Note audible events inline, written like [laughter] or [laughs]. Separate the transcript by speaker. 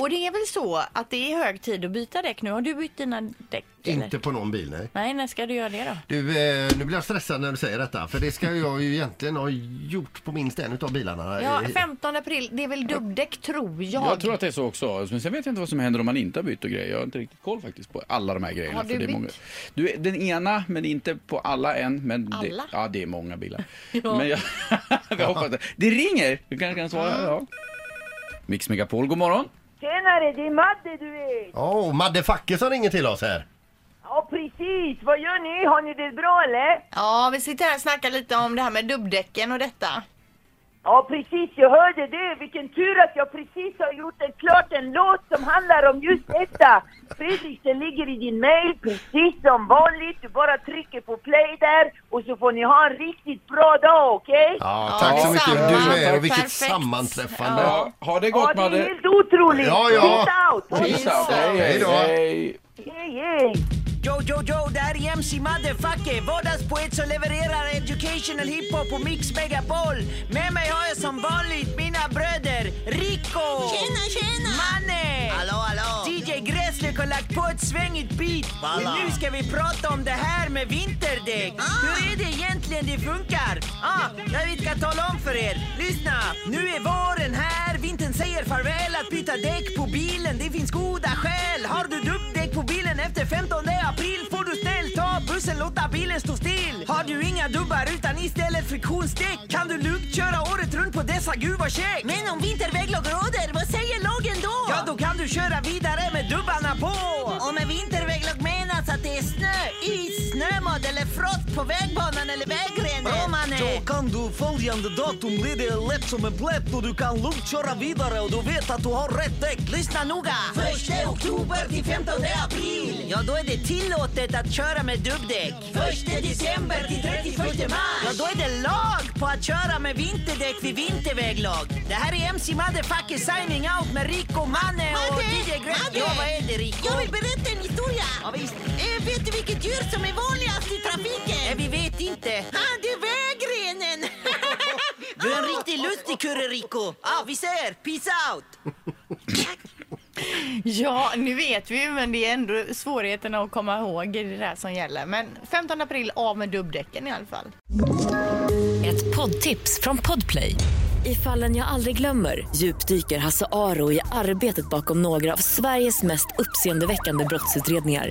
Speaker 1: Och det är väl så att det är hög tid att byta däck nu? Har du bytt dina däck? eller?
Speaker 2: Inte på någon bil, nej.
Speaker 1: Nej, när ska du göra det då?
Speaker 2: Du, eh, nu blir jag stressad när du säger detta, för det ska jag ju egentligen ha gjort på minst en utav bilarna.
Speaker 1: Ja,
Speaker 2: Eh,
Speaker 1: 15 april, det är väl dubbdäck tror jag.
Speaker 3: Jag tror att det är så också. Men sen vet jag inte vad som händer om man inte har bytt och grejer. Jag har inte riktigt koll faktiskt på alla de här grejerna.
Speaker 1: Har du
Speaker 3: det är
Speaker 1: bytt?
Speaker 3: Du, den ena, men inte på alla än. Men
Speaker 1: Alla?
Speaker 3: Det, ja, det är många bilar.
Speaker 1: Ja.
Speaker 3: Men jag, [laughs] jag hoppas det. Det ringer! Du kanske kan svara. Ja. Mix Megapol, god morgon.
Speaker 4: Tjenare, det är Madde du vet!
Speaker 2: Ja, och Madde Fackesson ringer till oss här.
Speaker 4: Ja precis, vad gör ni? Har ni det bra eller?
Speaker 1: Ja, vi sitter här och snackar lite om det här med dubbdäcken och detta.
Speaker 4: Ja precis, jag hörde det. Vilken tur att jag precis har gjort en, klart en låt som handlar om just detta. Fredrik, den ligger i din mail precis som vanligt. Du bara trycker på play där och så får ni ha en riktigt bra dag, okej?
Speaker 2: Ja,
Speaker 1: Ja,
Speaker 2: tack så mycket.
Speaker 1: detsamma.
Speaker 2: Du är med och vilket
Speaker 1: Perfekt.
Speaker 2: sammanträffande.
Speaker 1: Ja.
Speaker 3: Ja, ha det
Speaker 4: Ja,
Speaker 3: gott
Speaker 4: det är
Speaker 3: Madde.
Speaker 4: helt otroligt!
Speaker 2: Ja, ja.
Speaker 4: Peace out! Ha det
Speaker 3: Peace
Speaker 4: bra.
Speaker 3: out. Hej,
Speaker 2: Hej
Speaker 3: hej,
Speaker 2: då.
Speaker 3: hej.
Speaker 4: Hej, hej.
Speaker 5: Yo, yo, yo, det här är MC Motherfucker, vardagspoet som levererar educational hiphop på Mix Megapol. Med mig har jag som vanligt mina bröder Rico! Tjena, tjena! Manne! Hallå, hallå! DJ Gräslök har lagt på ett svängigt beat. Men nu ska vi prata om det här med vinterdäck. Hur är det egentligen det funkar? Ah, jag vi ska tala om för er. Lyssna! Nu är våren här, vintern säger farväl. Att byta däck på bilen, det finns goda skäl. Har du dubbdäck på bilen efter 15 april får du snällt ta bussen, låta bilen stå still. Har du inga dubbar utan istället friktionsdäck kan du lugnt köra året runt på dessa, gud vad käck! Men om vinterväglag råder, vad säger lagen då? Ja, då kan du köra vidare med dubbarna på! Och med vinterväglag menas att det är snö, is, snömodd eller frost på vägbanan eller vägrenen. Bra mannen! Då kan du följande datum blir det lätt som en plätt och du kan lugnt köra vidare och du vet att du har rätt däck. Lyssna noga! Första oktober till 15 april! Ja, då är det tillåtet att köra med dubbdäck. Första december till 31 mars! Ja, då är det lag på att köra med vinterdäck vid vinterväglag. Det här är MC Motherfucker signing out med Rico Manne och DJ Gräs. Ja, vad är det Rico? Jag vill berätta en historia. Ja, visst. vet du vilket djur som är vanligast i trafiken? Nej, vi vet inte. Ha, Ah, det är vägrenen! du är en riktig lustigkurre Rico. Ja, vi ser. Peace out!
Speaker 1: Ja, nu vet vi ju men det är ändå svårigheterna att komma ihåg det där som gäller. Men 15 april av med dubbdäcken i alla fall.
Speaker 6: Ett poddtips från Podplay. I fallen jag aldrig glömmer djupdyker Hasse Aro i arbetet bakom några av Sveriges mest uppseendeväckande brottsutredningar.